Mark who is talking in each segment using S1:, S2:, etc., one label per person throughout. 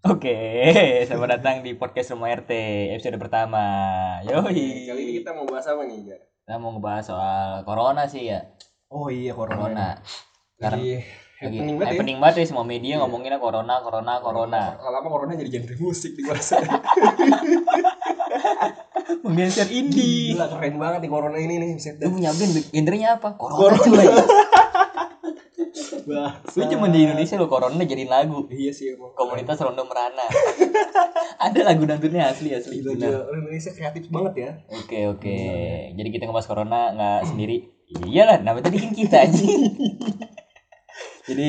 S1: Oke, selamat datang di podcast Rumah RT episode pertama.
S2: Oh
S1: Yoi.
S2: Kali ini kita mau bahas apa nih, Jar?
S1: Kita mau ngebahas soal corona sih ya.
S3: Oh iya corona.
S1: Corona. Sekarang
S2: Lagi
S1: lagi
S2: happening banget ya.
S1: happening banget ya semua media ngomonginnya corona, corona, corona.
S2: Lama-lama corona jadi genre musik di gua rasa.
S1: Menggeser indie.
S2: Gila keren banget nih corona ini nih set
S1: Lu punya band gendernya apa? Corona,
S2: Corona.
S1: coy.
S2: Bahasa.
S1: Lu cuma di Indonesia lo corona jadiin lagu.
S2: Iya sih emang.
S1: Komunitas Rondo Merana. Ada lagu dangdutnya asli asli.
S2: Gila,
S1: Bener.
S2: gila. Orang Indonesia kreatif banget ya.
S1: Oke oke. Jadi kita ngebahas corona nggak sendiri. Iyalah, nama tadi kan kita anjing. Jadi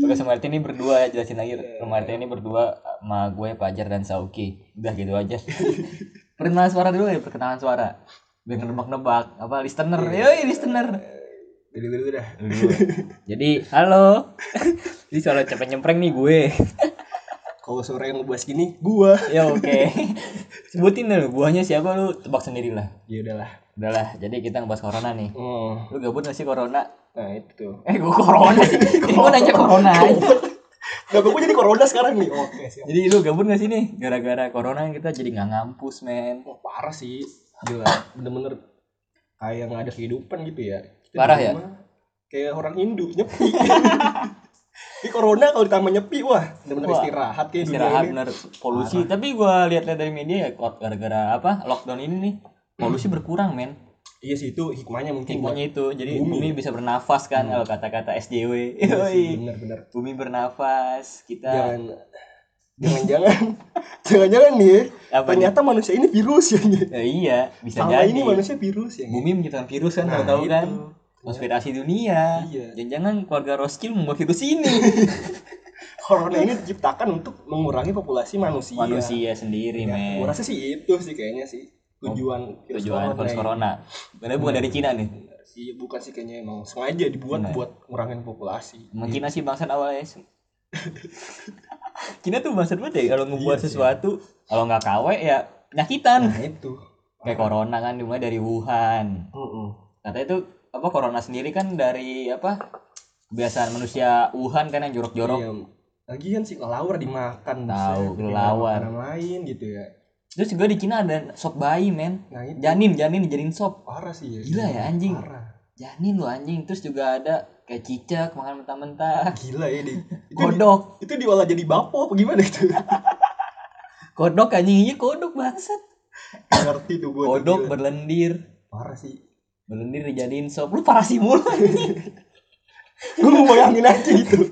S1: Bagas sama Martin ini berdua jelasin lagi. Rumah RT ini berdua sama gue Pajar dan Sauki. Udah gitu aja. perkenalan suara dulu ya, perkenalan suara. Biar nebak-nebak apa listener. Yoi listener.
S2: Dari Iya, dulu dah.
S1: Dulu. Jadi halo. Jadi soal cepet nyempreng nih gue.
S2: Kalau sore yang ngebahas gini, gua.
S1: ya oke. Sebutin deh lu buahnya siapa lu tebak sendiri lah.
S2: Ya udahlah.
S1: Udahlah, jadi kita ngebahas corona nih.
S2: Oh,
S1: Lu gabut gak sih corona?
S2: nah itu tuh.
S1: Eh gue corona sih Jadi gue nanya corona aja
S2: Gak gue jadi corona sekarang nih. Oke, siap.
S1: Jadi lu gabut gak sih nih? Gara-gara corona kita jadi gak ngampus men
S2: Wah, parah sih. Gila, bener-bener kayak gak ada kehidupan gitu ya. Kita di
S1: Parah ya?
S2: rumah Kayak orang Hindu, nyepi. Ini corona kalau ditambah nyepi, wah, bener-bener
S1: Wah,
S2: istirahat kayak dunia
S1: Istirahat
S2: ini.
S1: bener Polusi Tapi gua lihat-lihat dari media ya kok Gara-gara apa lockdown ini nih Polusi berkurang men
S2: Iya sih itu hikmahnya mungkin Bang.
S1: Hikmahnya itu Jadi
S2: Iya. Bumi.
S1: bumi, bisa bernafas kan Kalau kata-kata SJW
S2: Iya
S1: Yoi. Nah.
S2: sih, Iya. Bener-bener.
S1: Bumi bernafas Kita
S2: Jangan jangan-jangan jangan-jangan nih ya,
S1: Apa nih?
S2: ternyata manusia ini virus ya nih.
S1: Ya, Iya Bisa
S2: Selama
S1: jadi
S2: ini manusia virus ya. Nih.
S1: Bumi menciptakan virus kan
S2: Nah,
S1: Tahu-tahu
S2: itu.
S1: kan Konspirasi dunia
S2: Iya.
S1: Jangan-jangan keluarga Roskil membuat virus ini
S2: Corona ini diciptakan untuk mengurangi populasi manusia.
S1: manusia sendiri
S2: Ya,
S1: men
S2: gua rasa sih itu sih kayaknya sih tujuan virus
S1: Oh, tujuan virus
S2: ya.
S1: corona Padahal bukan dari Cina nih
S2: Iya bukan sih kayaknya emang sengaja dibuat
S1: Bener.
S2: buat ngurangin populasi.
S1: emang Cina sih bangsat awalnya Cina tuh bangsat banget ya kalau ngebuat
S2: Iya sih.
S1: sesuatu kalau nggak KW ya penyakitan
S2: Nah itu.
S1: kayak corona kan dimulai dari Wuhan
S2: Mm-mm.
S1: katanya itu apa corona sendiri kan dari apa kebiasaan manusia Wuhan kan yang jorok-jorok
S2: Iya. Lagian sih kelelawar dimakan
S1: Tahu,
S2: buset,
S1: kelelawar.
S2: makanan lain gitu ya.
S1: terus juga di Cina ada sop bayi men
S2: Nah itu
S1: janin janin dijadiin sop
S2: parah sih ya.
S1: Gila ya, anjing.
S2: Parah.
S1: janin lu anjing terus juga ada kayak cicak makan mentah-mentah
S2: Gila ya di. Itu, di-
S1: kodok
S2: itu diolah jadi bapo apa gimana itu?
S1: kodok anjing iya kodok bangsat
S2: Nggak ngerti tuh gue.
S1: kodok berlendir
S2: Parah sih.
S1: Belendir dijadiin sop Lu parah sih mulu
S2: Gue mau bayangin aja gitu.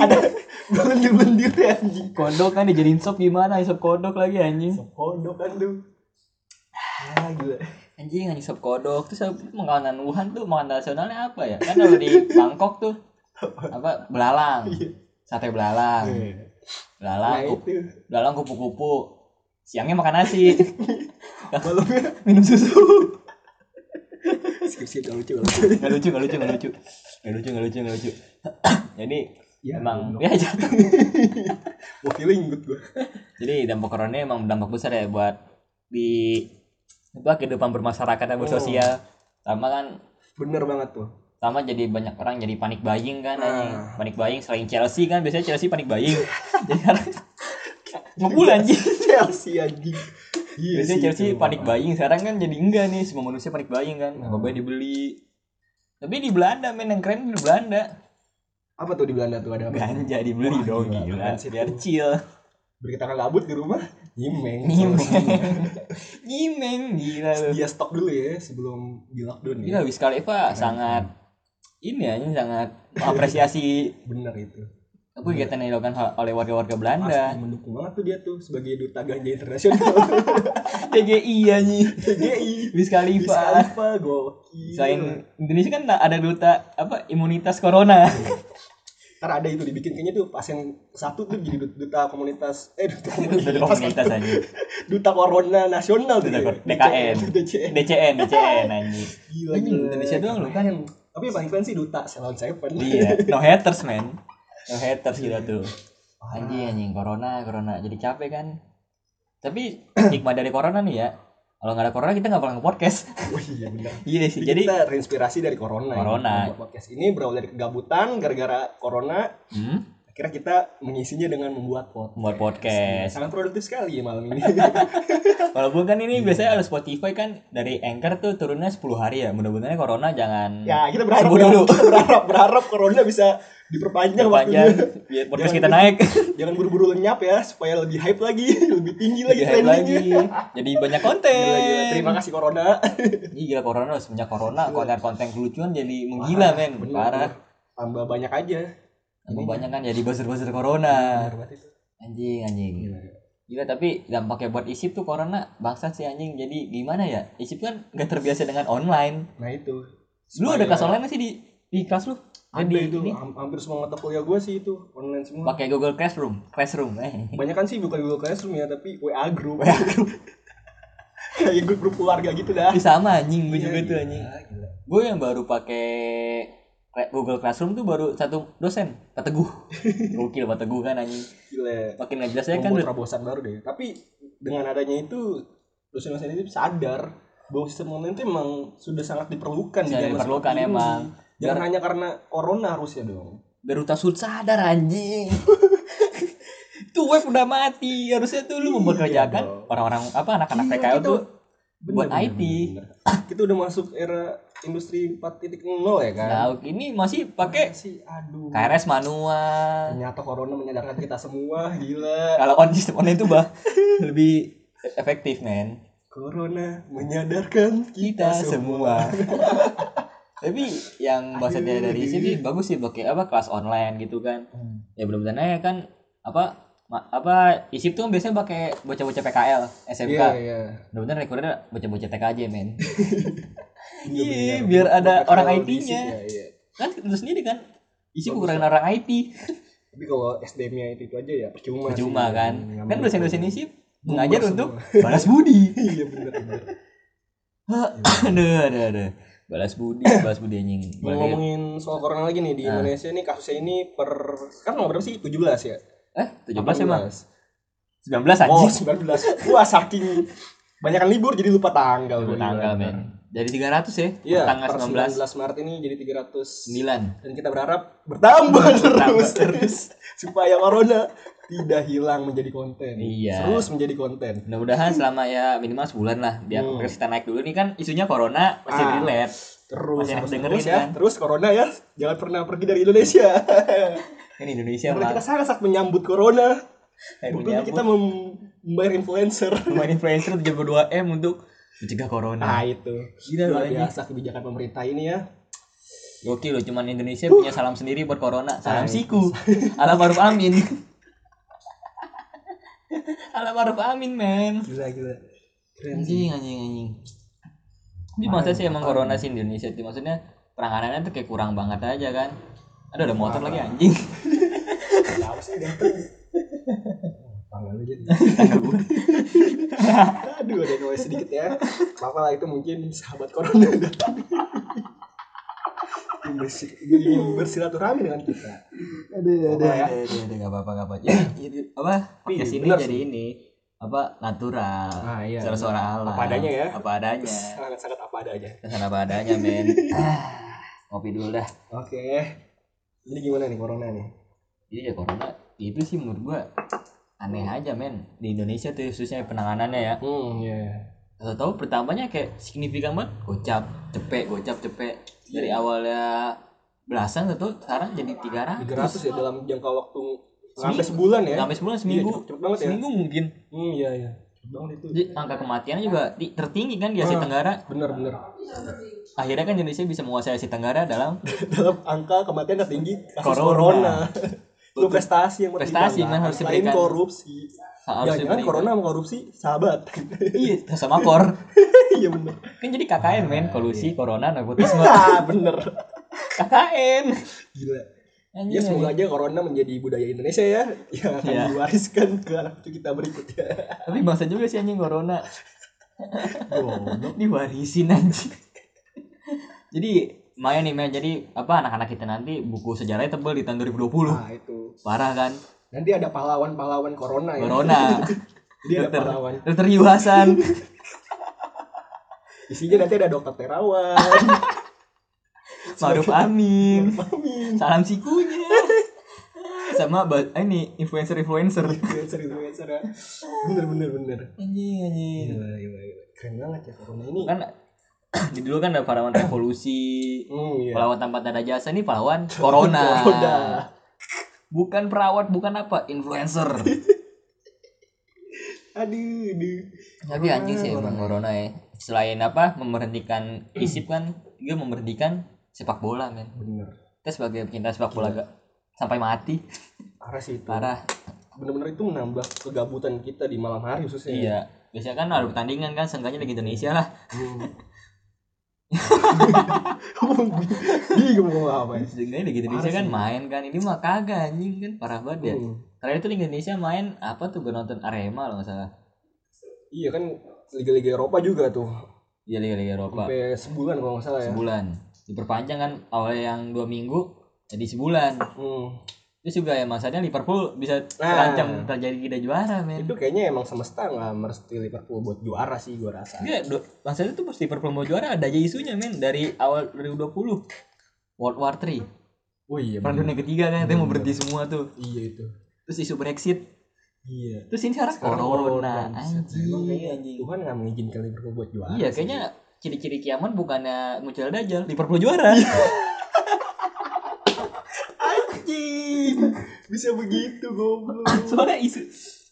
S2: Ada belendir-belendir deh anjing.
S1: Kodok kan dijadiin sop gimana Sop kodok lagi anjing
S2: Kodok kan tuh. Ah gila.
S1: Anjing anjing sop kodok Terus apa- makanan Wuhan tuh Makanan nasionalnya apa ya Kan kalau di Bangkok tuh Apa Belalang Sate belalang
S2: Iya. Nah
S1: Belalang
S2: itu.
S1: Belalang kupu-kupu Siangnya makan nasi
S2: Malamnya
S1: Minum susu
S2: skip-skip gak lucu gak lucu.
S1: Gak lucu gak lucu gak lucu Gak lucu gak lucu gak lucu Jadi
S2: Ya,
S1: Emang
S2: goblok.
S1: ya jatuh
S2: Mau feeling good gue.
S1: Jadi dampak corona emang dampak besar ya buat di apa kehidupan bermasyarakat dan bersosial.
S2: Hmm.
S1: Sama kan
S2: Bener banget tuh.
S1: sama jadi banyak orang jadi panik buying kan
S2: Nah.
S1: anjing. Panik buying selain Chelsea kan biasanya Chelsea panik buying. jadi sekarang ngebul anjing.
S2: Chelsea anjing. Iya
S1: Biasanya
S2: sih,
S1: Chelsea
S2: itu.
S1: panik buying sekarang kan jadi enggak nih semua manusia panik buying kan.
S2: Nah.
S1: Apa-apa dibeli. Tapi di Belanda men yang keren di Belanda.
S2: Apa tuh di Belanda tuh ada apa?
S1: Ganja dibeli
S2: Wah,
S1: dong
S2: gila,
S1: gila.
S2: keren sih
S1: Biar
S2: tuh.
S1: chill.
S2: Biar kita nggak gabut di rumah. Nyimeng.
S1: Nyimeng. Nyimeng gila lu.
S2: Dia stok dulu ya sebelum di lockdown ya.
S1: Gila Wiz Khalifa sangat ini ya ini sangat mengapresiasi
S2: Bener itu.
S1: apa kegiatan yang dilakukan ho- oleh warga-warga Belanda.
S2: Pasti mendukung banget tuh dia tuh sebagai duta ganja internasional.
S1: TGI ya nih.
S2: TGI.
S1: Wiz
S2: Bisa
S1: Khalifa.
S2: apa gokil.
S1: Selain Indonesia kan ada duta apa imunitas corona.
S2: Ntar ada itu dibikin kayaknya tuh pasien satu tuh jadi dut- duta komunitas eh duta komunitas,
S1: Duta komunitas aja.
S2: duta corona nasional tuh
S1: Duta
S2: dia.
S1: kor- DKN.
S2: DCN
S1: DCN, DCN anjing.
S2: gila
S1: Anjing,
S2: gila.
S1: Indonesia doang loh, kan?
S2: Keren. tapi yang paling keren sih duta salon seven
S1: Iya, no haters man. No haters gila tuh. Anjing anjing corona, corona jadi capek kan. Tapi hikmah dari corona nih ya. Kalau nggak ada corona kita nggak bakal nge-podcast.
S2: oh iya bener
S1: Iya sih. Jadi,
S2: jadi kita terinspirasi dari corona ya.
S1: Corona.
S2: Membuat podcast ini berawal dari kegabutan gara-gara corona
S1: Hmm?
S2: Akhirnya kita mengisinya dengan membuat podcast.
S1: Buat podcast.
S2: Sangat produktif sekali ya malam ini.
S1: Walaupun kan ini biasanya ada Spotify kan dari Anchor tuh turunnya 10 hari ya. Mudah-mudahan corona jangan
S2: ya kita berharap
S1: Sembuh
S2: ya,
S1: dulu.
S2: kita berharap berharap corona bisa diperpanjang
S1: panjang
S2: waktunya.
S1: biar podcast kita naik.
S2: Jangan buru-buru lenyap ya supaya lebih hype lagi, lebih tinggi lagi
S1: Jadi hype lagi.
S2: trendingnya.
S1: Jadi banyak konten.
S2: Gila, gila. Terima kasih corona.
S1: Ih, gila corona loh, semenjak corona konten-konten kelucuan jadi menggila men,
S2: Bener, ya.
S1: parah.
S2: bener. Tambah banyak aja.
S1: Emang banyak kan jadi buzzer-buzzer corona.
S2: Bener banget itu.
S1: Anjing anjing.
S2: Gila.
S1: Gila tapi dampaknya buat isip tuh corona bangsat sih anjing. Jadi gimana ya? Isip kan gak terbiasa dengan online.
S2: Nah itu.
S1: Lu ada kelas online gak sih di di kelas lu?
S2: Ada
S1: Jadi
S2: itu
S1: ini
S2: ham- hampir semua mata kuliah gue sih itu online semua.
S1: pakai Google Classroom, Classroom. Eh.
S2: Banyak kan sih bukan Google Classroom ya tapi WA group. Kayak grup grup keluarga gitu dah.
S1: Ih, sama anjing gue
S2: Iya,
S1: juga tuh
S2: gila,
S1: anjing.
S2: gila.
S1: Gue yang baru pakai Cla- Google Classroom tuh baru satu dosen, Pak Teguh. Gokil Pak Teguh kan anjing.
S2: Gila.
S1: Makin nggak jelas ya kan
S2: Membuat terobosan baru deh. Tapi dengan adanya itu dosen-dosen itu sadar bahwa sistem online itu emang sudah sangat diperlukan
S1: Sangat Iya, diperlukan
S2: seperti ini.
S1: emang.
S2: Jangan hanya karena corona harusnya dong.
S1: Garuda Sud sadar anjing. tuh web udah mati. Harusnya tuh lu mempekerjakan
S2: Iya dong.
S1: orang-orang apa anak-anak
S2: Gila,
S1: PKL
S2: kita-
S1: tuh
S2: Bener,
S1: buat
S2: bener,
S1: IT.
S2: bener, bener. Kita udah masuk era industri 4.0 ya kan.
S1: Nah, ini masih pakai
S2: sih aduh.
S1: KRS manual.
S2: Ternyata corona menyadarkan kita semua, gila.
S1: Kalau on sistem online itu bah lebih efektif, men.
S2: Corona menyadarkan kita, semua.
S1: Tapi yang bahasa dia
S2: Aduh,
S1: dari
S2: aduh.
S1: sini bagus sih pakai apa kelas online gitu kan. Ya belum tenang ya kan apa ma- apa isip tuh kan biasanya pakai bocah-bocah PKL, SMK.
S2: Iya, iya.
S1: Bener-bener rekornya bocah-bocah TK aja, men.
S2: Bener-bener.
S1: Iya, biar ada
S2: Buat-
S1: orang
S2: buat
S1: IT-nya.
S2: fisik ya, iya.
S1: kan lu sendiri kan isi
S2: Bagus,
S1: kurangin orang IT
S2: Tapi kalau SDM-nya itu, itu aja ya percuma sih. iya,
S1: percuma kan
S2: Nggak
S1: kan
S2: mendukung.
S1: dosen-dosen isi
S2: Bubar
S1: mengajar
S2: semua.
S1: untuk balas budi
S2: Iya bener bener.
S1: Hah, aduh aduh aduh balas budi balas budi anjing
S2: Mau
S1: Balir.
S2: ngomongin soal corona lagi nih di
S1: Ah.
S2: Indonesia nih kasusnya ini per kan berapa sih? 17 ya?
S1: eh 17 emang
S2: 18.
S1: 19
S2: Oh,
S1: anjing
S2: 19. Wah, saking banyak libur jadi lupa tanggal.
S1: Lupa
S2: Gila.
S1: tanggal men dari 300 ya
S2: Iya,
S1: tanggal
S2: per
S1: 19
S2: 19 Maret ini jadi 300
S1: 9
S2: dan kita berharap bertambah terus
S1: Bertambah terus.
S2: supaya corona tidak hilang menjadi konten.
S1: Iya.
S2: Terus menjadi konten.
S1: mudah-mudahan selama ya minimal sebulan lah biar
S2: Hmm.
S1: progres kita naik dulu nih kan isunya corona masih
S2: Ah.
S1: relate
S2: Terus
S1: Masih
S2: harus
S1: enak dengerin,
S2: terus ya.
S1: kan?
S2: Terus corona ya, jangan pernah pergi dari Indonesia.
S1: ini Indonesia
S2: Karena
S1: mah
S2: kita sangat menyambut corona.
S1: Air menyambut.
S2: Buktinya
S1: Hmm.
S2: kita mem- membayar influencer.
S1: lumayan influencer 72 m untuk mencegah corona
S2: Nah, itu.
S1: Gila,
S2: Luar
S1: anjing.
S2: biasa kebijakan pemerintah ini ya.
S1: Gokil loh, cuman Indonesia punya salam sendiri buat corona. Salam siku. Ala Maruf Amin. Ala Maruf Amin, men.
S2: Gila gila. Keren sih.
S1: Anjing, anjing, anjing. Ini masa sih emang corona sih Indonesia tuh maksudnya penanganannya tuh kayak kurang banget aja kan. Aduh, ada motor lagi anjing.
S2: Kenapa Nah, sih dateng? Oh, Tanggal aja. nih. Aduh, ada noise sedikit ya. Apa lah itu mungkin sahabat corona datang. Ingin bersi- ingin bersilaturahmi dengan kita. Aduh,
S1: Ada, ada, ada, enggak apa-apa, enggak apa-apa. Ya, ini apa? Podcast ini
S2: bener
S1: jadi ini apa natural.
S2: Ah, iya.
S1: Suara-suara alam.
S2: Apa adanya ya.
S1: Apa adanya.
S2: Sangat-sangat apa ada aja.
S1: Kesan apa adanya, men. Ah, Ngopi dulu dah.
S2: Oke. Ini gimana nih corona nih?
S1: Jadi ya corona itu sih menurut gua aneh aja men di Indonesia tuh khususnya penanganannya ya.
S2: Hmm, ya.
S1: Tahu-tahu pertamanya kayak signifikan banget gocap, cepet, gocap, cepet.
S2: Iya.
S1: Dari awalnya belasan tuh sekarang jadi 300.
S2: 300 ya dalam jangka waktu nggak
S1: Seminggu.
S2: sampai sebulan ya.
S1: Sampai sebulan
S2: Iya,
S1: seminggu.
S2: cepet, cepet banget ya.
S1: Seminggu mungkin.
S2: Hmm, iya iya. Cepet banget itu.
S1: Jadi angka kematiannya juga ti- tertinggi kan di Asia
S2: Ah.
S1: Tenggara.
S2: Bener bener.
S1: Akhirnya kan Indonesia bisa menguasai Asia Tenggara dalam
S2: dalam angka kematian tertinggi kasus corona.
S1: Corona.
S2: Itu prestasi yang
S1: Prestasi,
S2: lah.
S1: men, harus
S2: Selain
S1: diberikan.
S2: korupsi.
S1: Harus
S2: Jangan-jangan
S1: diberikan.
S2: Ya, corona sama korupsi sahabat.
S1: Iya, sama kor.
S2: Iya bener.
S1: Kan jadi KKN men,
S2: Iya.
S1: kolusi, corona, nepotisme.
S2: Ah, bener.
S1: KKN.
S2: Gila.
S1: Anjing,
S2: Ya semoga aja corona menjadi budaya Indonesia ya yang akan
S1: Iya.
S2: diwariskan ke anak cucu kita berikutnya.
S1: Tapi bangsa juga sih anjing corona
S2: Goblok.
S1: diwarisin anjing. Jadi lumayan nih men. Jadi apa anak-anak kita nanti buku sejarahnya tebel di tahun 2020.
S2: Nah, itu.
S1: Parah kan?
S2: Nanti ada pahlawan-pahlawan corona ya.
S1: Corona.
S2: Jadi ada pahlawan.
S1: Dokter Yu Hasan.
S2: Isinya nanti ada dokter Terawan,
S1: Maruf Amin.
S2: Mami,
S1: Salam sikunya. sama ba- eh, ini influencer influencer
S2: influencer influencer ya bener bener bener
S1: anjing anjing
S2: gila gila gila keren banget ya corona ini
S1: kan di dulu kan ada pahlawan revolusi
S2: hmm iya
S1: pahlawan tanpa tanda jasa ini pahlawan corona
S2: Corona.
S1: bukan perawat bukan apa influencer
S2: aduh aduh
S1: tapi anjing sih emang corona ya selain apa memberhentikan isip kan juga memberhentikan sepak bola men
S2: bener
S1: kita sebagai pecinta sepak bola
S2: Iya.
S1: gak sampai mati
S2: parah sih itu
S1: parah
S2: bener-bener itu menambah kegabutan kita di malam hari khususnya
S1: iya biasanya kan ada pertandingan kan seenggaknya lagi Indonesia lah
S2: Hmm. bingung mau ngomong apa ya
S1: seenggaknya lagi Indonesia kan main kan ini mah kagak anjing kan parah banget ya
S2: Hmm.
S1: terakhir itu Liga Indonesia main apa tuh gue nonton Arema loh nggak salah
S2: iya kan liga-liga Eropa juga tuh
S1: iya Liga Liga Eropa
S2: sampai sebulan kalau nggak salah ya
S1: sebulan diperpanjang kan awalnya yang dua minggu jadi sebulan
S2: Hmm.
S1: terus juga ya masanya Liverpool bisa
S2: Nah.
S1: terancam terjadi tidak juara men
S2: itu kayaknya emang semesta nggak merestui Liverpool buat juara sih gue rasa
S1: Enggak, do, maksudnya tuh pas Liverpool mau juara ada aja isunya men dari awal 2020. World War 3.
S2: oh iya
S1: Perang dunia ketiga kan katanya mau berhenti semua tuh.
S2: iya itu
S1: Terus isu Brexit.
S2: iya
S1: Terus ini sekarang
S2: Sekarang
S1: corona.
S2: Buset,
S1: Anjing,
S2: emang kayaknya
S1: anjing.
S2: Tuhan nggak mengizinkan Liverpool buat juara
S1: Iya,
S2: sih.
S1: kayaknya ciri-ciri kiamat bukannya muncul dajal, Liverpool juara.
S2: anjing bisa begitu goblok
S1: Soalnya isu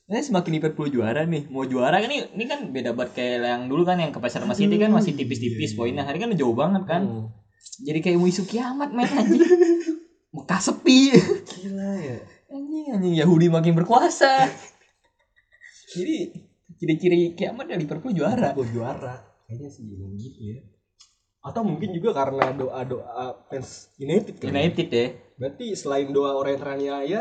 S1: Nah, semakin Liverpool juara nih, mau juara kan ini, ini kan beda banget kayak yang dulu kan yang ke pasar sama City kan masih tipis-tipis poinnya. Hari kan jauh banget kan.
S2: Iya, Hmm.
S1: Jadi kayak mau isu kiamat men anjing. Muka sepi.
S2: gila ya
S1: Anjing, anjing Yahudi makin berkuasa. Jadi ciri-ciri kiamat dari Liverpool juara.
S2: Liverpool juara kayaknya sih emang gitu ya atau mungkin juga karena doa doa fans United kan
S1: United ya.
S2: berarti selain doa orang yang teraniaya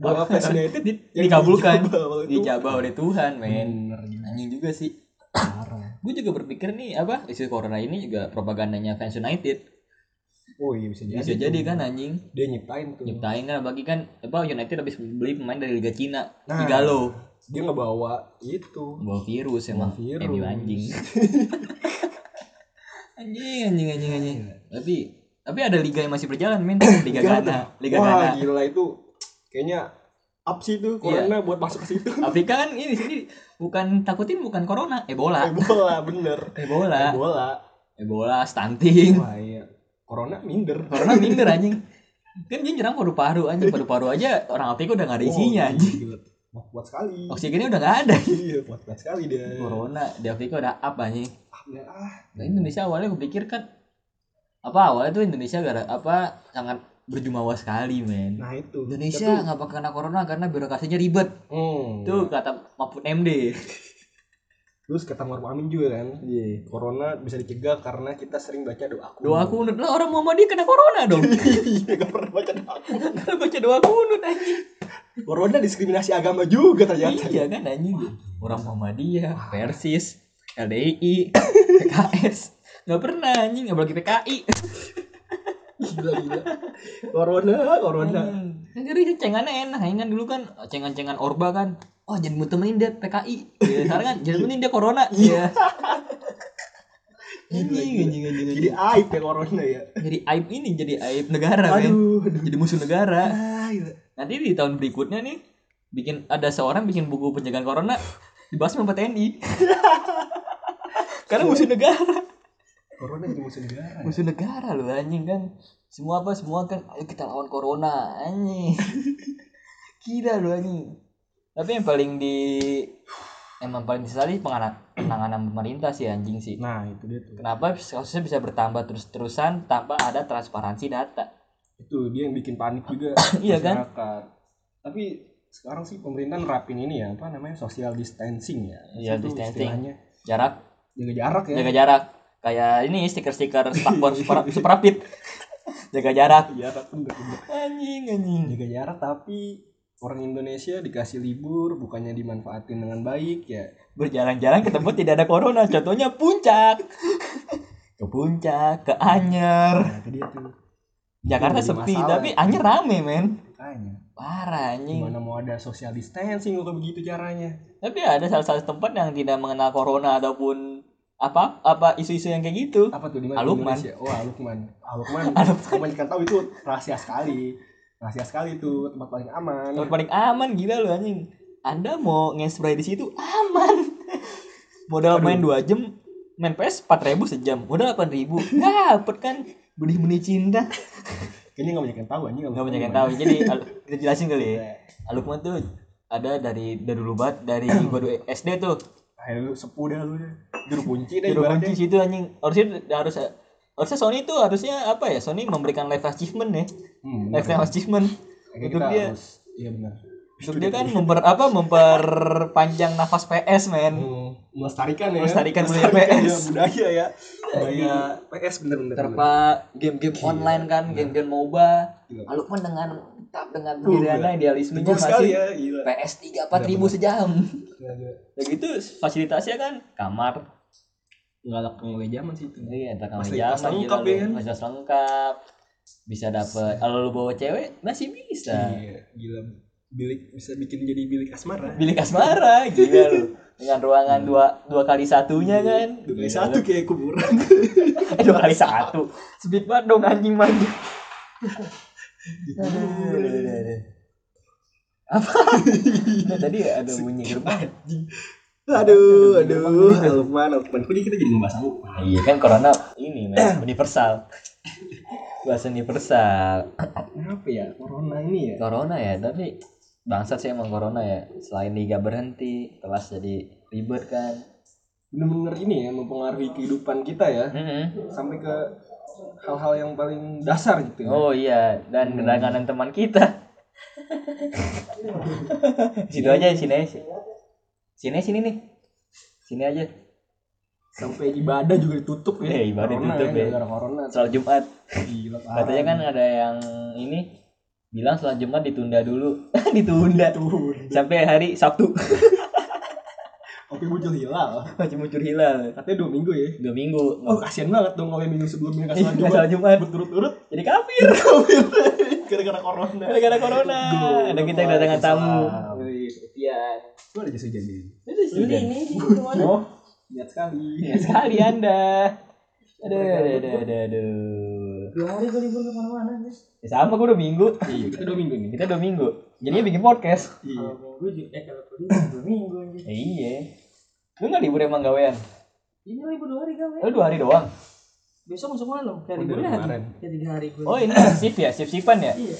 S2: doa fans United
S1: Di-
S2: yang
S1: dikabulkan,
S2: dijabah oleh Tuhan.
S1: dijabah oleh Tuhan, men.
S2: bener gila.
S1: Anjing juga sih.
S2: parah
S1: Gue juga berpikir nih apa isu corona ini juga propagandanya fans United.
S2: oh iya bisa jadi
S1: Bisa
S2: tuh.
S1: jadi kan anjing.
S2: dia nyiptain tuh
S1: Nyiptain kan bagi kan apa United habis beli pemain dari Liga Cina,
S2: Nah.
S1: Igalo.
S2: dia ngebawa itu
S1: Bawa virus emang.
S2: virus.
S1: MU anjing. anjing, anjing, anjing, anjing. Tapi tapi ada liga yang masih berjalan, Min. Liga
S2: Gila
S1: Ghana,
S2: tuh.
S1: Liga
S2: Wah,
S1: Ghana.
S2: gila itu kayaknya up sih itu
S1: Iya.
S2: corona buat masuk ke situ
S1: Afrika kan ini sini bukan takutin bukan corona, Ebola.
S2: bola bener
S1: Ebola,
S2: bola
S1: Ebola, stunting.
S2: wah iya corona minder
S1: Corona minder anjing. Kan dia nyerang paru-paru anjing, paru-paru aja orang Afrika udah gak ada isinya
S2: Oh,
S1: anjing.
S2: gila. Oh. Wah, kuat sekali
S1: Oksigennya udah gak ada.
S2: iya kuat kuat sekali dia
S1: Corona di Afrika udah up anjing.
S2: Ah, ya, ah.
S1: Nah, Indonesia awalnya gue pikir kan apa awalnya tuh Indonesia gara apa sangat berjumawa sekali men.
S2: nah itu
S1: Indonesia Iya. nggak bakal kena corona karena birokrasinya ribet.
S2: hmm.
S1: Tuh kata Mahfud MD.
S2: terus kata Maruf Amin juga kan
S1: Iya.
S2: corona bisa dicegah karena kita sering baca doa kunut.
S1: Doa kunut lah orang Muhammadiyah kena corona dong.
S2: Iya, nggak pernah baca doa kunut.
S1: karena baca doa kunut anjing.
S2: corona diskriminasi agama juga ternyata
S1: iya kan anjing. Orang Muhammadiyah, Persis, LDI, PKS. Nggak pernah anjing, apalagi PKI.
S2: gila gila corona corona
S1: Kan jadi cengannya enak, kan dulu kan cengan-cengan Orba kan. Oh, jadi temenin dia PKI. Ya, sekarang kan jadi temenin dia corona. Iya.
S2: Gila,
S1: Anjing,
S2: gila.
S1: anjing, anjing,
S2: jadi
S1: anjing.
S2: aib ya corona ya
S1: Jadi aib ini jadi aib negara, men.
S2: aduh aduh
S1: Jadi musuh negara.
S2: Ah, gila.
S1: Nanti di tahun berikutnya nih bikin ada seorang bikin buku penjagaan corona dibahas sama TNI. Karena musuh negara.
S2: corona jadi musuh negara ya?
S1: musuh negara loh anjing kan semua apa semua kan ayo kita lawan corona anjing gila loh anjing tapi yang paling di emang paling disesali penganan- penanganan pemerintah sih anjing sih
S2: nah itu dia tuh
S1: kenapa kasusnya bisa bertambah terus-terusan tanpa ada transparansi data
S2: itu dia yang bikin panik juga
S1: Iya kan?
S2: masyarakat. tapi sekarang sih pemerintah nerapin ini ya apa namanya social distancing ya
S1: Social Iya,
S2: Itu
S1: distancing.
S2: istilahnya
S1: jarak
S2: jaga jarak ya
S1: jaga jarak kayak ini stiker-stiker spakbor super, superapit jaga jarak
S2: jarak Iya, bener, bener.
S1: anjing anjing
S2: jaga jarak tapi orang Indonesia dikasih libur bukannya dimanfaatin dengan baik ya
S1: berjalan-jalan ketemu tidak ada corona contohnya puncak ke puncak ke anyer
S2: nah itu dia tuh
S1: Jakarta
S2: jadi
S1: Iya, sepi
S2: masalah.
S1: tapi anyer rame men
S2: makanya
S1: parah anjing
S2: gimana mau ada social distancing kalau begitu caranya
S1: tapi ada salah satu tempat yang tidak mengenal corona ataupun apa apa isu-isu yang kayak gitu
S2: apa tuh di mana
S1: Alukman.
S2: Di Indonesia? oh Alukman Alukman
S1: Alukman.
S2: kamu kan tahu itu rahasia sekali rahasia sekali tuh tempat paling aman
S1: Tempat paling aman gila lu anjing. Anda mau nge-spray di situ aman. Modal main 2 jam, main PS 4000 sejam. Modal 8000. Dapat kan benih-benih cinta.
S2: kayaknya nggak banyak yang tahu anjing Iya.
S1: Enggak banyak yang tahu. Jadi al- kita jelasin kali ya. Alukman tuh ada dari dari dulu banget dari gua dulu SD tuh.
S2: ayo lu sepuh dah lu juru kunci deh
S1: Juru
S2: Iya, ibaratnya
S1: kunci situ anjing. Harusnya harus harusnya Sony itu harusnya apa ya? Sony memberikan live achievement ya.
S2: hmm, bener.
S1: Lifetime achievement
S2: Kayaknya
S1: untuk
S2: kita
S1: dia.
S2: harus iya benar
S1: Untuk dia
S2: Iya.
S1: kan memper apa memperpanjang nafas PS men.
S2: Hmm, melestarikan ya
S1: Melestarikan budaya
S2: ya,
S1: PS.
S2: budaya ya budaya PS bener-bener
S1: Terpa
S2: Iya.
S1: game-game online kan, game-game MOBA.
S2: Gila.
S1: Alukman dengan tetap dengan
S2: Uh,
S1: pendiriannya idealismenya
S2: Teguh Iya. sekali
S1: masih
S2: ya Iya, gila
S1: PS 3 4000 sejam.
S2: Gila, gila.
S1: Ya gitu fasilitasnya kan kamar.
S2: nggak ada pengulai zaman sih itu
S1: Iya, tak kamar
S2: Fasilitas
S1: zaman,
S2: lengkap
S1: gila
S2: ya
S1: lu.
S2: kan?
S1: Fasilitas lengkap. Bisa dapet kalau lu bawa cewek masih bisa.
S2: iya gila bilik bisa bikin jadi bilik asmara
S1: Bilik asmara gila lu. Dengan ruangan dua dua kali
S2: Iya.
S1: satunya kan.
S2: dua kali
S1: Gila
S2: satu kayak kuburan
S1: Eh dua kali satu. Speed banget dong anjing manja. Apa? Nah, tadi ada bunyi gerbang.
S2: aduh aduh Lukman Lukman kok kita jadi ngebahas aku
S1: Iya kan corona ini men, universal. Bahasa universal.
S2: kenapa ya corona ini ya
S1: Corona ya, tapi bangsat sih emang corona ya. Selain liga berhenti, kelas jadi ribet kan.
S2: bener-bener ini ya mempengaruhi kehidupan kita ya
S1: Mm-mm.
S2: sampai ke hal-hal yang paling dasar gitu ya.
S1: Oh iya, dan kedatangan teman kita. situ aja sini aja. Sini sini nih. Sini aja.
S2: sampai ibadah juga ditutup ya
S1: Iya, ibadah
S2: Corona
S1: ditutup ya.
S2: gara-gara corona
S1: Soal Jumat.
S2: gila parah.
S1: Katanya kan ada yang ini bilang soal Jumat ditunda dulu. ditunda
S2: tuh
S1: sampai hari Sabtu.
S2: oke muncul hilal
S1: Masih muncul hilal.
S2: katanya dua minggu ya
S1: Dua minggu.
S2: oh kasihan banget dong kalau yang minggu sebelumnya nggak
S1: Iya, nggak
S2: sholat jumat
S1: sholat Jumat.
S2: berturut-turut
S1: Jadi kafir.
S2: gara-gara corona
S1: Gara-gara corona. Ada kita kedatangan tamu.
S2: Iya. Itu ada jas hujan nih.
S1: Ini ini
S2: Oh, Iya. lihat sekali.
S1: Ya sekali Anda. Aduh, aduh, aduh, aduh, aduh.
S3: Dua hari gue libur kemana-mana guys.
S1: Ya sama gue dua minggu.
S2: Iya, kita dua minggu nih.
S1: Kita dua minggu. Jadinya bikin podcast.
S2: Iya.
S3: Kalau minggu juga, eh kalau kuliah dua minggu anjir.
S1: Ya, iya. Lu nggak libur emang gawean?
S3: Ini libur dua hari ya. gawe.
S1: Lu dua hari doang.
S3: Eh, Besok masuk malam, kayak
S2: Udah
S3: liburnya hari.
S2: kemarin. iya.
S3: Kayak tiga hari gue.
S1: Oh ini sip ya, sip sipan ya.
S3: Iya.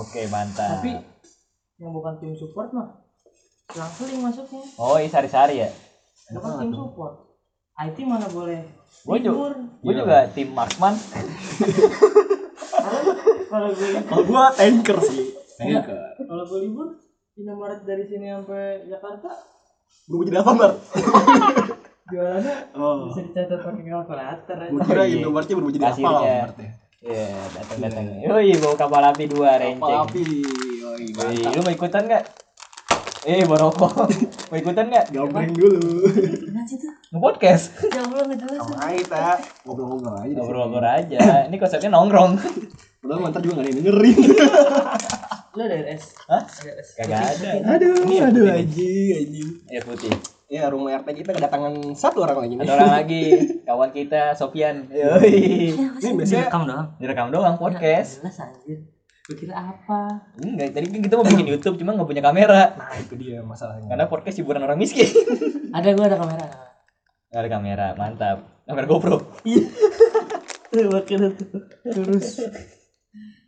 S1: Oke mantap.
S3: Tapi yang bukan tim support mah selang-seling masuknya.
S1: Oh ini sari-sari ya.
S3: Lo kan tim support. IT mana boleh
S1: Gue
S3: libur.
S1: juga, gue juga tim marksman.
S3: Karena kalau gue libur,
S2: Kalau gua tanker sih. Iya. Tanker.
S3: kalau gue libur, Indomaret dari sini sampai Jakarta
S2: Berubah jadi apa, Bar?
S3: jualannya
S2: Oh.
S3: bisa dicatat pakai kalkulator aja.
S2: Gua kira
S1: Iya.
S2: Indomaretnya berubah jadi apa
S1: Kasirnya.
S2: lah ya? Indomaretnya.
S1: Iya datang datang. Yoi bawa kapal api dua
S2: Kapal
S1: renceng.
S2: api. Yoi, Bar.
S1: Yoi, lu mau ikutan nggak? Eh borokok. mau ikutan
S2: Iya.
S1: nggak?
S2: Gambreng dulu.
S3: Gimana sih tuh?
S1: Nge-podcast.
S3: Jauh lo nggak jelas.
S2: Sama Aita. Ngobrol-ngobrol aja. di sini.
S1: Ngobrol-ngobrol aja. Ini konsepnya nongrong.
S2: Padahal mantar juga gak ada yang dengerin.
S3: Lo dari S.
S1: Hah?
S3: Dari S.
S1: Kagak ada.
S2: aduh,
S1: Ini yang
S2: aduh
S1: putih nih.
S2: anjing, anjing.
S1: Ya putih.
S2: Ya, rumah RT kita kedatangan satu orang lagi nih.
S1: Ada orang lagi, kawan kita Sofian. Yoi.
S2: Ini biasanya
S3: Kamu doang.
S1: Direkam doang podcast.
S3: Jelas anjir. Lu kira apa?
S1: Enggak, tadi kan kita mau bikin YouTube cuma nggak punya kamera.
S2: Nah, itu dia masalahnya.
S1: Karena podcast hiburan orang miskin.
S3: Ada gua ada kamera. ada kamera.
S1: Nggak Ada kamera, mantap. Kamera GoPro.
S3: Lu makin itu. Terus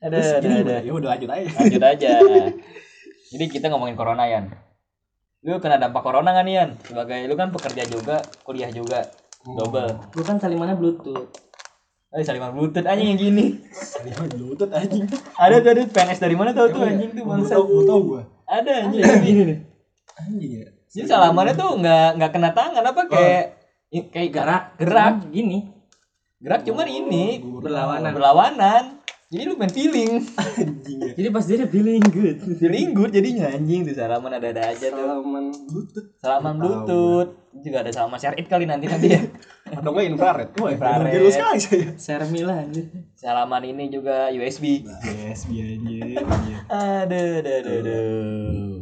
S1: Ada,
S2: Terus
S1: ada,
S2: ini
S1: ada.
S2: udah, ya udah lanjut aja.
S1: Lanjut aja. Jadi kita ngomongin corona, Yan. Lu kena dampak corona kan, Yan? Sebagai lu kan pekerja juga, kuliah juga. Double.
S3: gua kan salimannya bluetooth.
S1: Eh, saliman bluetooth anjing yang gini.
S2: Aduh, lutut anjing.
S1: Ada tuh, ada PNS dari mana tau tuh anjing tuh
S2: Lu
S1: bangsa.
S2: tau, lu tau iya. gua.
S1: Ada anjing.
S3: nih.
S2: Anjing ya.
S1: Jadi salamannya tuh nggak nggak kena tangan apa kayak i- kayak gerak gerak
S3: gini.
S1: gerak cuman ini
S2: gua
S3: berlawanan.
S1: berlawanan. Jadi lu main feeling
S2: Anjing ya.
S3: Jadi pas dia feeling good.
S1: feeling good jadinya anjing tuh salaman ada ada aja tuh.
S2: Salaman lutut.
S1: Salaman
S2: Tahu.
S1: bluetooth juga ada salaman syariat kali nanti nanti ya.
S2: Atau enggak infrared. Wah,
S1: Infrared.
S2: Oh, infrared. Gila sekali saya.
S3: Sermi lah anjir.
S1: Salaman ini juga USB.
S2: Nah. Yes, biar anjing.
S1: Aduh, aduh, aduh, aduh.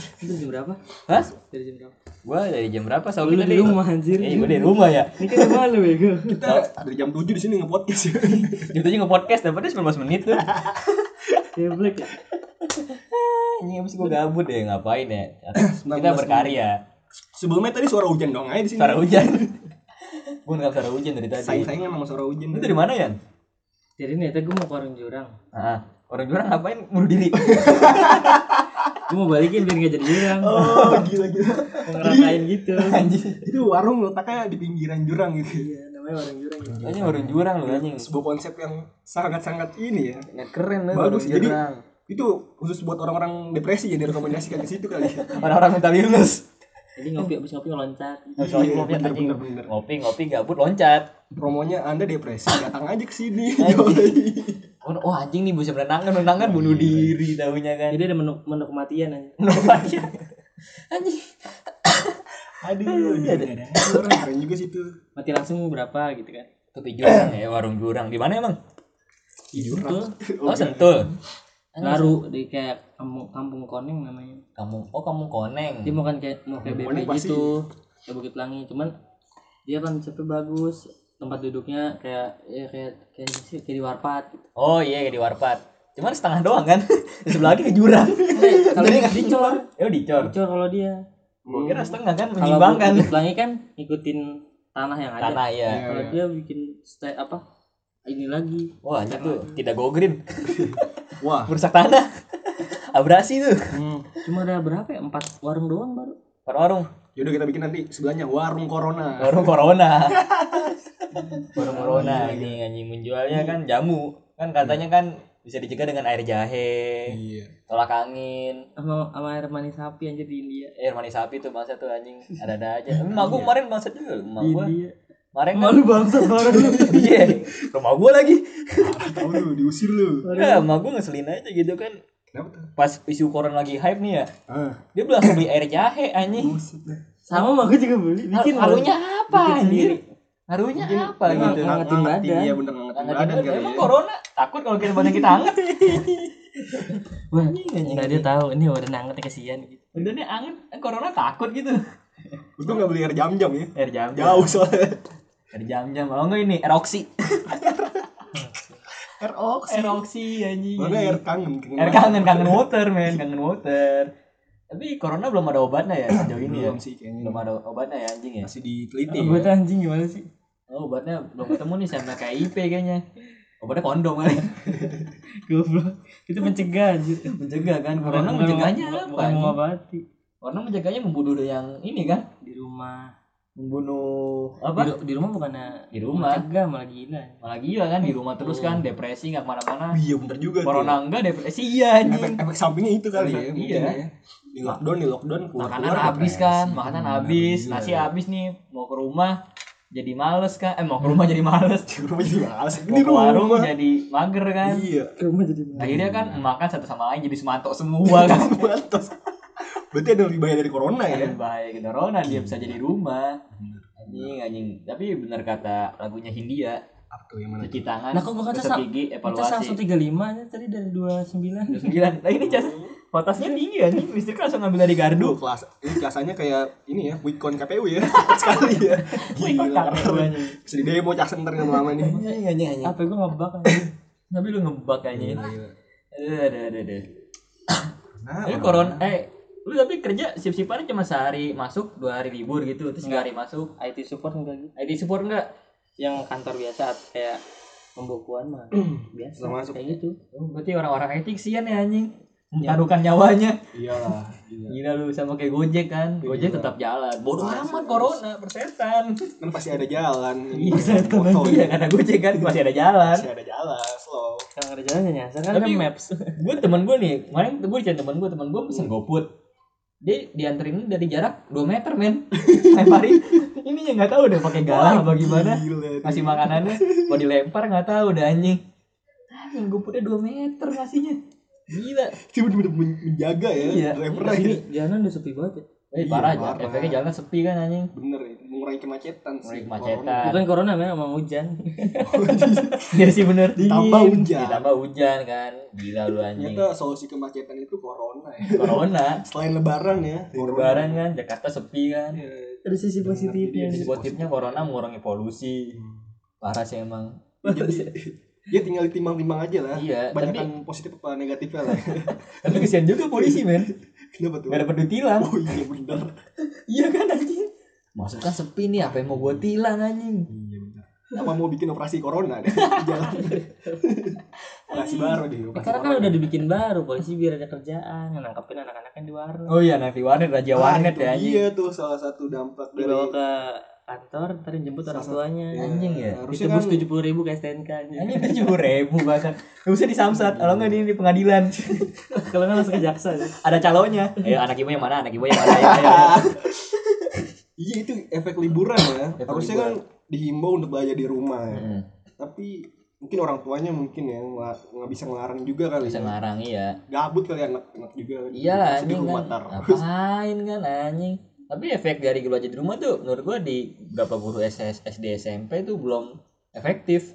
S3: Itu jam berapa?
S1: Hah?
S3: Dari jam berapa?
S1: Gua dari jam berapa sahur
S4: Lu
S1: kita
S4: di
S1: Dil?
S4: rumah anjir.
S1: Eh, gua dari rumah ya.
S4: Ini kan rumah lu bego.
S2: Kita dari jam 7 di sini nge-podcast.
S1: Jam 7 nge-podcast dapatnya 19 menit tuh.
S4: Geblek ya.
S1: Anjing habis gua gabut deh ngapain ya. Kita
S2: 19
S1: berkarya.
S2: Sebelumnya tadi suara hujan doang aja di sini.
S1: Suara hujan. Gua nggak suara hujan dari tadi.
S2: Sayang-sayang emang suara hujan.
S1: Lu dari mana, Yan?
S4: Jadi nih, tadi gue mau ke warung jurang.
S1: Ah, orang jurang ngapain bunuh diri?
S4: Gue mau balikin biar nggak jadi jurang.
S2: Oh, gila-gila.
S4: Mau ngerasain gitu.
S1: Anjing.
S2: Itu warung letaknya di pinggiran jurang gitu.
S4: Iya, namanya warung jurang. gitu.
S1: Anjing orang jurang lu anjing.
S2: Sebuah konsep yang sangat-sangat ini ya.
S1: Keren lu
S2: Bagus,
S1: orang
S2: jadi-
S1: jurang.
S2: Itu khusus buat orang-orang depresi ya direkomendasikan ke situ kali. ya.
S1: Orang-orang mental illness.
S4: Jadi ngopi abis ngopi loncat.
S1: Habis ngopi ngopi
S2: bener,
S1: anjing.
S2: bener, bener.
S1: Ngopi ngopi gabut loncat.
S2: Promonya Anda depresi, datang aja ke sini.
S1: Oh, oh, anjing nih bisa menenangkan menenangkan bunuh diri tahunya kan.
S4: Jadi ada menu menu kematian aja.
S1: Novakia. anjing.
S2: Aduh, ada orang keren juga situ.
S4: Mati langsung berapa gitu kan.
S1: Tapi jurang ya warung jurang. Di mana emang?
S2: Di jurang.
S1: Oh Sentul.
S4: Laru di kayak kampung, kampung koneng namanya.
S1: Kamu oh kamu koneng.
S4: Dia mau kan kayak mau kayak
S2: Koneng
S4: BP
S2: pasti.
S4: gitu. Kayak Bukit Pelangi, cuman dia konsepnya bagus. Tempat duduknya kayak ya kayak kayak sih kayak di warpat gitu.
S1: Oh iya di warpat. Cuman setengah doang kan. Di sebelah lagi ke jurang.
S4: Eh, Kalau dia nggak dicor,
S1: Ya dicor.
S4: dicor kalau dia.
S1: Gua kira
S2: Hmm.
S1: setengah kan
S4: Kalau
S1: menyimbangkan.
S4: Bukit Pelangi kan ngikutin tanah yang ada.
S1: Tanah
S2: Iya,
S1: ya.
S4: Kalau
S2: gitu.
S4: dia bikin stay apa? Ini lagi.
S1: Wah, anjing tuh tidak go green.
S2: Wah.
S1: Merusak tanah. Abrasi tuh.
S2: Hmm.
S4: Cuma ada berapa ya? Empat warung doang baru.
S1: Warung-warung.
S2: Yaudah kita bikin nanti sebelahnya warung corona.
S1: Warung corona. Warung corona ini anjing menjualnya kan jamu. Kan katanya kan bisa dicegah dengan air jahe,
S2: Iya.
S1: tolak angin,
S4: Sama sama air manis sapi anjir di India.
S1: air manis sapi tuh bangsa tuh anjing. Ada-ada aja. Emak
S4: Iya.
S1: gua kemarin bangsa juga loh, emak
S4: Di
S1: gua.
S4: India.
S1: Kemarin kan
S4: Malu bangsa orang lu.
S1: iya. Rumah gua lagi.
S2: Tahu lu diusir lu.
S1: Ya, emak gua ngeselin aja gitu kan.
S2: Kenapa tuh?
S1: Pas isu corona lagi hype nih ya.
S2: Ah,
S1: Dia langsung beli air jahe anjing.
S2: buset dah.
S4: Sama mah gue juga beli. Bikin
S1: Har- harunya apa
S4: Bikin
S1: anjir?
S4: sendiri.
S1: Harunya apa
S4: Emang-
S1: gitu?
S4: emang- Ngangetin badan.
S2: Iya bener ngangetin
S1: Nggak
S2: badan
S1: ada
S2: kali
S1: Emang
S2: ya.
S1: corona takut kalau kita badan kita hangat.
S4: Wah,
S1: anjing,
S4: enggak dia tahu ini udah nanget kesian gitu.
S1: Udah nih angin, eh, corona takut gitu.
S2: Untung nggak beli air jam-jam ya.
S1: Air jam
S2: Jauh soalnya.
S1: Air jam jam. Kalau enggak ini air oksi.
S2: Air oks.
S1: Air oksi anjing.
S2: Mana air kangen?
S1: Air kangen kangen water men, kangen water. Tapi corona belum ada obatnya ya sejauh ini ya.
S2: Belum sih kayaknya.
S1: Belum ada obatnya ya anjing ya.
S2: Masih diteliti.
S4: Gue tuh anjing gimana sih?
S1: Oh, obatnya belum ketemu nih sama KIP kayaknya. Obatnya kondom kan? kali.
S4: Goblok. Itu mencegah anjir.
S1: Mencegah kan.
S4: Bukan-
S1: Corona
S4: bukan
S1: mencegahnya
S4: mau-
S1: apa?
S4: Bukan mau
S1: anjing?
S4: ngobati.
S1: Corona mencegahnya membunuh yang ini kan,
S4: Di rumah.
S1: membunuh
S4: Di,
S1: apa?
S4: ru- di rumah bukannya
S1: Di rumah.
S4: Mencegah malah gila.
S1: Malah gila kan di rumah terus kan depresi nggak kemana-mana.
S2: Iya bener juga tuh.
S1: Corona enggak depresi iya
S2: Efek,
S1: anjing.
S2: efek sampingnya itu kali ya.
S1: Iya.
S2: mungkin ya. Di lockdown, di lockdown keluar
S1: makanan
S2: keluar, Iya,
S1: habis
S2: depresi.
S1: kan makanan habis
S2: bener.
S1: nasi habis nih mau ke rumah jadi males kan eh mau ke rumah jadi males
S2: Di rumah jadi males.
S1: mau
S2: Di
S1: ke
S2: rumah.
S1: warung jadi mager kan
S2: Iya.
S4: Ke rumah jadi mana?
S1: akhirnya kan makan satu sama lain jadi semantok semua kan
S2: Mantos. Berarti ada lebih bahaya dari corona ya.
S1: Ada bahaya ke corona gitu. dia bisa jadi rumah anjing anjing tapi bener kata lagunya Hindia
S2: Apa tuh yang mana?
S1: cuci tangan
S4: Nah, kok gua kata
S1: gosok
S4: sa-
S1: gigi
S4: Kita langsung
S1: evaluasi
S4: 35 aja tadi dari 29.
S1: sembilan nah ini cas potasnya tinggi anjing listrik langsung ngambil dari gardu
S2: Aduh, kelas ini kelasnya kayak ini ya, weekend KPU ya. Cepat sekali ya. Gila.
S1: KPU anjing.
S2: Bisa di demo Caksen ntar lama-lama nih.
S1: anjing anjing anjing
S4: Apa gue ngebak anjing.
S1: tapi lu ngebak anjing Eh,
S2: Gila.
S1: aduh aduh aduh, aduh
S2: Nah,
S1: Lu corona eh lu tapi kerja sip-sipan cuma sehari masuk dua hari libur gitu terus tiga hari masuk
S4: IT support enggak gitu.
S1: IT support enggak
S4: Yang kantor biasa kayak pembukuan mah biasa
S2: Nggak masuk.
S4: kayak gitu.
S1: Oh, berarti orang-orang IT kesian ya anjing
S4: Iya.
S1: mengharukan nyawanya
S2: iyalah. Iya.
S1: gila lu sama kayak Gojek kan Gojek tetap jalan bodoh amat corona persetan
S2: Kan pasti ada jalan.
S1: iya iya karena Gojek kan masih ada jalan
S2: ya. Pasti ada jalan, slow.
S4: Kalau ada jalan ya nyasar kan ada
S1: Tapi-
S4: maps.
S1: gue temen gue nih kemarin gue dicari temen gue temen gue pesen GoFood dia dianterin dari jarak 2 meter men lemparin ini yang nggak tahu deh pakai galah apa gimana
S2: Gila.
S1: ngasih makanannya mau dilempar nggak tahu udah anjing anjing gue putih 2 meter ngasihnya gila
S2: Cuma bener menjaga ya.
S1: Iya.
S2: Driver
S4: Terus
S2: gitu.
S4: ini jalanan udah sepi banget ya.
S1: Eh,
S2: Iya,
S1: parah
S2: parah.
S1: aja. Efeknya jalan sepi kan anjing.
S2: bener mengurangi kemacetan
S1: Mengurangi
S2: sih Iya.
S1: kemacetan.
S4: Bukan corona memang mau hujan.
S2: Corona.
S1: Iya sih bener.
S2: Ditambah hujan.
S1: Ditambah Iya, hujan kan. Gila lu anjing.
S2: ternyata solusi kemacetan itu corona ya
S1: Corona.
S2: selain lebaran ya
S1: Lebaran kan Jakarta sepi kan.
S2: Iya.
S4: Ada sisi positifnya.
S1: Jadi positifnya corona mengurangi polusi. Parah sih emang.
S2: dia Iya, tinggal ditimbang-timbang aja lah
S1: Iya,
S2: banyakkan positif apa negatifnya lah
S1: Tapi kesian juga polisi men.
S2: Iya. kenapa tuh
S1: Gak dapat ditilang.
S2: oh iya bener
S1: Iya kan anjing. Masukan sepi nih apa yang mau gua tilang anjing.
S2: iya bener apa mau bikin operasi corona deh di jalan operasi baru deh operasi
S4: Karena kan
S2: corona.
S4: udah dibikin baru polisi biar ada kerjaan, nangkapin anak-anaknya di warung.
S1: Oh iya nanti warnet raja
S2: Ah,
S1: warnet
S2: itu
S1: ya anjing.
S2: iya tuh salah satu dampak dari
S4: Dibawa ke kantor, ntar jemput orang tuanya.
S2: Iya,
S1: Anjing ya.
S2: harusnya
S4: Ditebus
S2: kan
S4: tujuh puluh ribu ke STNK. anjing.
S1: Anjing tujuh puluh ribu bahkan. Gak usah di Samsat, kalau nggak di, di pengadilan.
S4: Kalau nggak langsung ke jaksa. ya.
S1: Ada calonnya. Ayo anak ibu yang mana? Anak ibu yang mana? iya. Ayo, ayo, ayo.
S2: iya itu efek liburan ya
S1: Efek
S2: harusnya kan dihimbau untuk belajar di rumah ya.
S1: Hmm,
S2: tapi mungkin orang tuanya mungkin ya nggak nggak bisa ngelarang juga kali
S1: Bisa
S2: ya.
S1: ngelarang iya.
S2: gabut kali anak anak juga kan.
S1: Iyalah
S2: Masih di
S1: anjing
S2: rumah
S1: kan.
S2: terus
S1: Ngapain kan anjing? Tapi efek dari lu aja di rumah tuh menurut gua di berapa guru SS, SD SMP tuh belum efektif.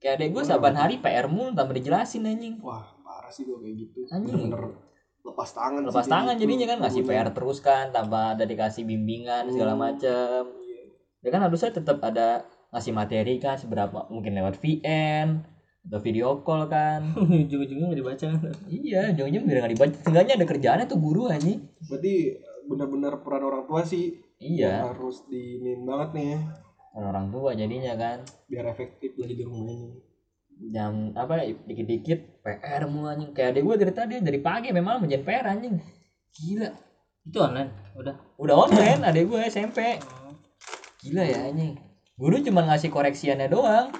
S1: Kayak adek gua saban hari PR mulu tambah dijelasin anjing.
S2: wah parah sih gua kayak gitu
S1: Anjing.
S2: bener-bener lepas tangan sih
S1: Lepas
S2: kayak
S1: tangan
S2: gitu.
S1: jadinya kan ngasih
S2: Gurunya.
S1: PR terus kan tambah ada dikasih bimbingan segala macem.
S2: Iya.
S1: Ya kan harusnya tetap ada ngasih materi kan seberapa mungkin lewat VN atau video call kan.
S4: Ujung-ujungnya nggak dibaca kan.
S1: Iya, jangan-jangan biar nggak dibaca. Seenggaknya ada kerjaannya tuh guru anjing.
S2: berarti benar-benar peran orang tua sih
S1: Iya,
S2: harus diinin banget nih
S1: orang orang tua jadinya kan.
S2: biar efektif belajar di rumah ini
S1: Jam apa dikit-dikit PR mulu anjing. Kayak adik gue dari tadi dari pagi memang menjadi PR anjing. Gila.
S4: Itu online, udah.
S1: Udah online adik gue SMP. Gila ya anjing. Guru cuma ngasih koreksiannya doang.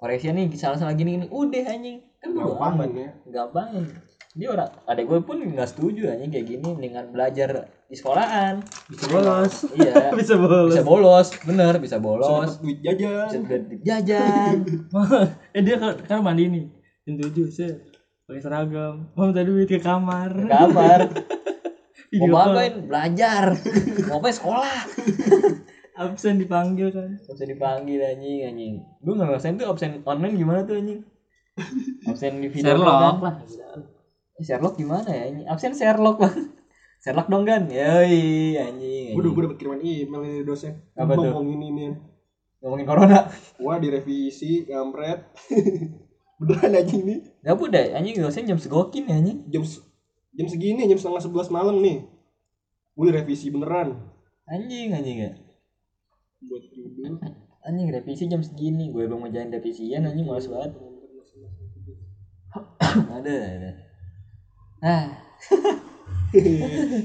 S1: Koreksian nih salah-salah gini-gini. Udah anjing. Kan bodo amat.
S2: gampang ya
S1: gampangin dia orang ada gue pun nggak setuju aja kayak gini dengan belajar di sekolahan bisa bolos iya
S4: Bisa bolos.
S1: bisa bolos bener bisa
S2: bisa
S1: bolos
S2: dapat duit
S1: bisa
S2: jajan
S1: duit jajan
S4: eh dia kan, kan mandi nih jam tujuh sih pakai seragam mau minta duit ke
S1: ke
S4: kamar Iya,
S1: kamar mau
S4: Video call.
S1: ngapain belajar mau ngapain sekolah
S4: absen dipanggil kan
S1: Gak bisa dipanggil anjing anjing gue nggak ngerasain tuh absen online gimana tuh anjing absen di video call kan?
S4: lah
S1: Eh, Sherlock gimana ya anjing absen Sherlock bang Sherlock dong kan yoi anjing, anjing.
S2: Waduh, gue dapet kiriman email dari dosen.
S1: Apa tuh?
S2: Ngomongin ini.
S1: ngomongin corona
S2: ya. Wah, direvisi, kampret. Beneran aja ini.
S1: Gak boleh anjing dosen jam segokin ya anjing
S2: Jam se- jam segini, jam setengah sebelas malam nih. Gue direvisi beneran.
S1: Anjing anjing ya
S2: Buat judul.
S1: Anjing revisi jam segini Gue belum ngejalan revisian anjing males banget Ada ada Ah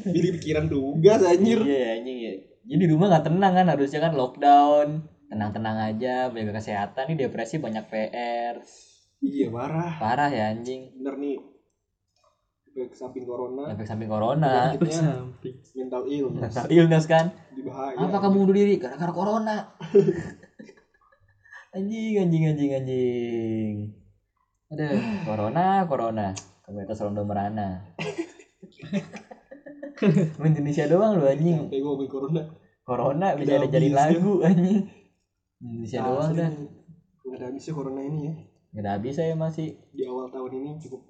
S2: Jadi pikiran tugas anjir.
S1: Iya ya anjing ya Jadi di rumah gak tenang kan harusnya kan lockdown Tenang-tenang aja Jaga kesehatan nih depresi banyak PR
S2: Iya, parah.
S1: Parah ya anjing
S2: Bener nih. Ke samping corona,
S1: Efek samping corona
S4: samping
S2: mental illness
S1: Mental illness kan
S2: dibahaya.
S1: Apa kamu bunuh diri? Gara-gara corona Anjing anjing anjing anjing Aduh Corona Corona Komunitas Rondo Merana Lu Indonesia doang lu anjing
S2: Sampai gue ngomongin corona.
S1: Corona bisa
S2: Udah
S1: ada jadi
S2: habis, ya.
S1: lagu anjing Indonesia Ya doang
S2: Asli
S1: dah
S2: nih. Nggak Ah, ada habisnya corona ini ya.
S1: Gak ada habis saya masih
S2: Di awal tahun ini cukup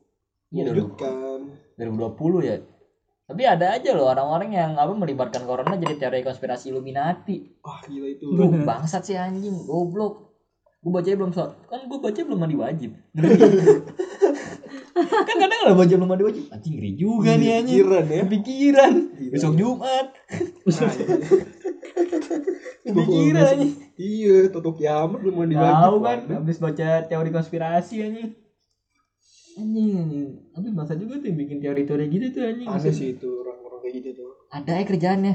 S1: Iya dulu
S2: mengejutkan.
S1: 2020 ya Tapi ada aja loh orang-orang yang apa melibatkan Corona jadi teori konspirasi Illuminati
S2: Wah, gila itu.
S1: Lu bangsat sih anjing, goblok. Gue bacanya belum so kan gue baca belum mandi wajib. Ngeri. kan kadang lo baca belum mandi wajib. Anjing ngeri juga nih anjing. Nah,
S2: Pikiran ya.
S1: Kepikiran.
S2: Gila.
S1: Besok Jumat.
S2: Pikiran
S1: Kepikiran anjing.
S2: Iya, tutup kiamat lu mandi wajib.
S1: Tahu kan habis baca teori konspirasi anjing. Anjing, anjing. Tapi masa juga tuh yang bikin teori-teori gitu tuh anjing.
S2: Aneh sih itu orang-orang kayak gitu tuh.
S1: Ada ya kerjaannya.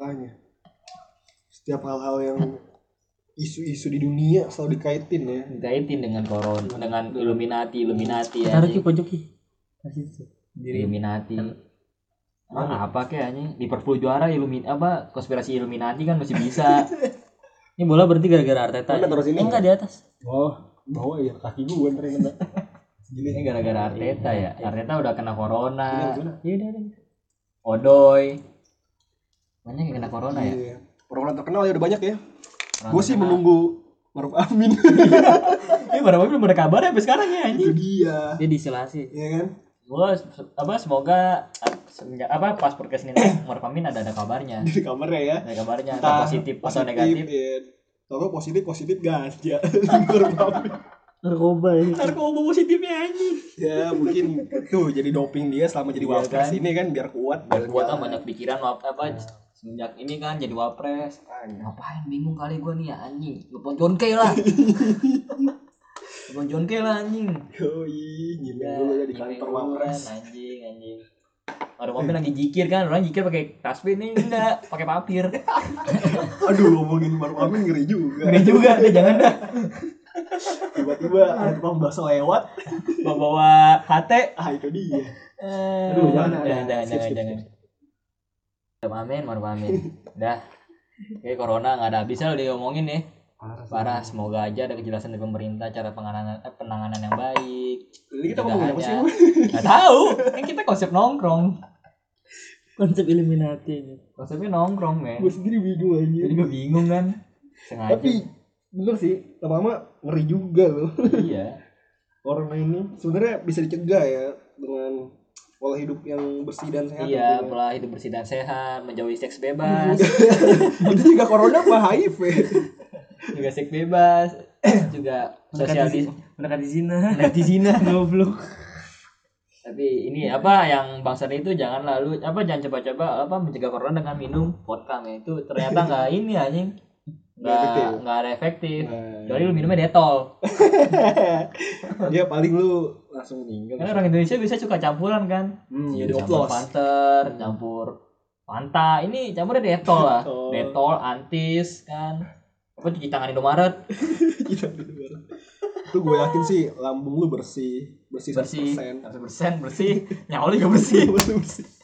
S2: Tanya. Setiap hal-hal yang isu-isu di dunia selalu dikaitin ya.
S1: Dikaitin dengan koron, dengan Illuminati, Illuminati ya.
S4: taruh ki pojok ki Nah, kasih tuh
S1: Illuminati. Emang apa kayak anjing? Liverpool juara Illuminati apa konspirasi Illuminati kan masih bisa.
S4: ini bola berhenti gara-gara
S1: Nah,
S4: Arteta
S2: Mana
S4: ya?
S2: taruh sini?
S4: Eh, enggak di atas
S2: Oh, bawa ya kaki gua ntar yang kena.
S1: Ini gara-gara Arteta ya. Arteta Iya. udah kena corona.
S2: Gimana?
S4: iya udah udah
S1: Odoy. Banyak yang kena corona ya.
S2: Iya. Orang-orang terkenal ya udah banyak ya.
S1: Orang
S2: Gue sih
S1: terkenal.
S2: menunggu Maruf Amin.
S1: Eh, baru belum ada kabar ya sampai sekarang ya
S2: Itu
S1: anjing.
S2: dia.
S4: Dia diisolasi.
S2: Iya kan?
S1: Gua se- apa semoga ah, semenjak- apa pas podcast ini naik, Maruf Amin ada ada kabarnya.
S2: Di kamarnya ya.
S1: Ada kabarnya entah positif atau negatif.
S2: Iya. Kalau positif positif ganja. Maruf Amin.
S4: Narkoba ya.
S1: Narkoba positifnya anjing.
S2: ya mungkin tuh jadi doping dia selama jadi
S1: Iya
S2: wapres
S1: kan?
S2: ini kan biar kuat.
S1: Biar gua kan
S2: jalan.
S1: banyak pikiran wap-
S2: Iya.
S1: apa semenjak ini kan jadi wapres. Ngapain bingung kali gua nih ya anjing. Telepon John Kay lah. Telepon John Kay lah anjing.
S2: Yoi, gila
S1: Ya,
S2: gue di
S1: nyipeng
S2: Iya, kantor
S1: duluan,
S2: wapres.
S1: Anjing, anjing. Ada mobil lagi jikir kan, orang jikir pakai tasbih nih enggak, pakai papir.
S2: Aduh, ngomongin Maruf Amin ngeri juga.
S1: kan. Ngeri juga deh, jangan dah.
S2: Tiba-tiba ada tukang bakso lewat.
S1: Bawa bawa hate.
S2: Ah, itu dia.
S1: Eh,
S2: Aduh, jangan,
S1: jangan,
S2: jangan,
S1: jangan, jangan,
S2: skip, skip,
S1: jangan. Maruf Amin, Maruf Amin. Dah. Oke, corona nggak ada habisnya udah diomongin nih. Parah, semoga aja ada kejelasan dari pemerintah cara penanganan eh, penanganan yang baik.
S2: Jadi kita ngomongin apa sih?
S1: Pencegahannya. Nggak tahu. Kan kita konsep nongkrong.
S4: Konsep Illuminati ini.
S1: Konsepnya nongkrong, men.
S2: Gue sendiri bingung aja.
S1: Jadi gue bingung kan. Sengaja.
S2: Tapi bener sih, lama-lama ngeri juga loh.
S1: iya.
S2: Corona ini sebenarnya bisa dicegah ya dengan pola hidup yang bersih dan sehat.
S1: Iya,
S2: tentunya.
S1: pola hidup bersih dan sehat, menjauhi seks bebas,
S2: Itu juga corona ya. apa HIV?
S1: Iya. juga seks bebas, juga sosial di
S4: Mereka di sini.
S1: mendekati zina.
S4: Goblok.
S1: Tapi ini apa yang Bang Sari itu jangan lalu apa jangan coba-coba apa mencegah corona dengan minum vodka men. itu ternyata nggak ini anjing.
S2: efektif.
S1: Nggak nggak ada efektif.
S2: Nah.
S1: Kecuali lu minumnya detol.
S2: Dia iya, paling lu langsung meninggal.
S1: Karena orang Indonesia biasa suka campuran kan.
S2: Hmm, jadi
S1: campur
S2: oplos.
S1: panter, campur Fanta. Ini campurnya detol lah.
S2: Detol.
S1: Detol, antis kan. Apa cuci tangan Indomaret.
S2: Gila, Iya, bener. Itu gue yakin sih lambung lu bersih, bersih
S1: bersih
S2: 100%.
S1: 100% bersih nyawa lu juga bersih
S2: Bersih.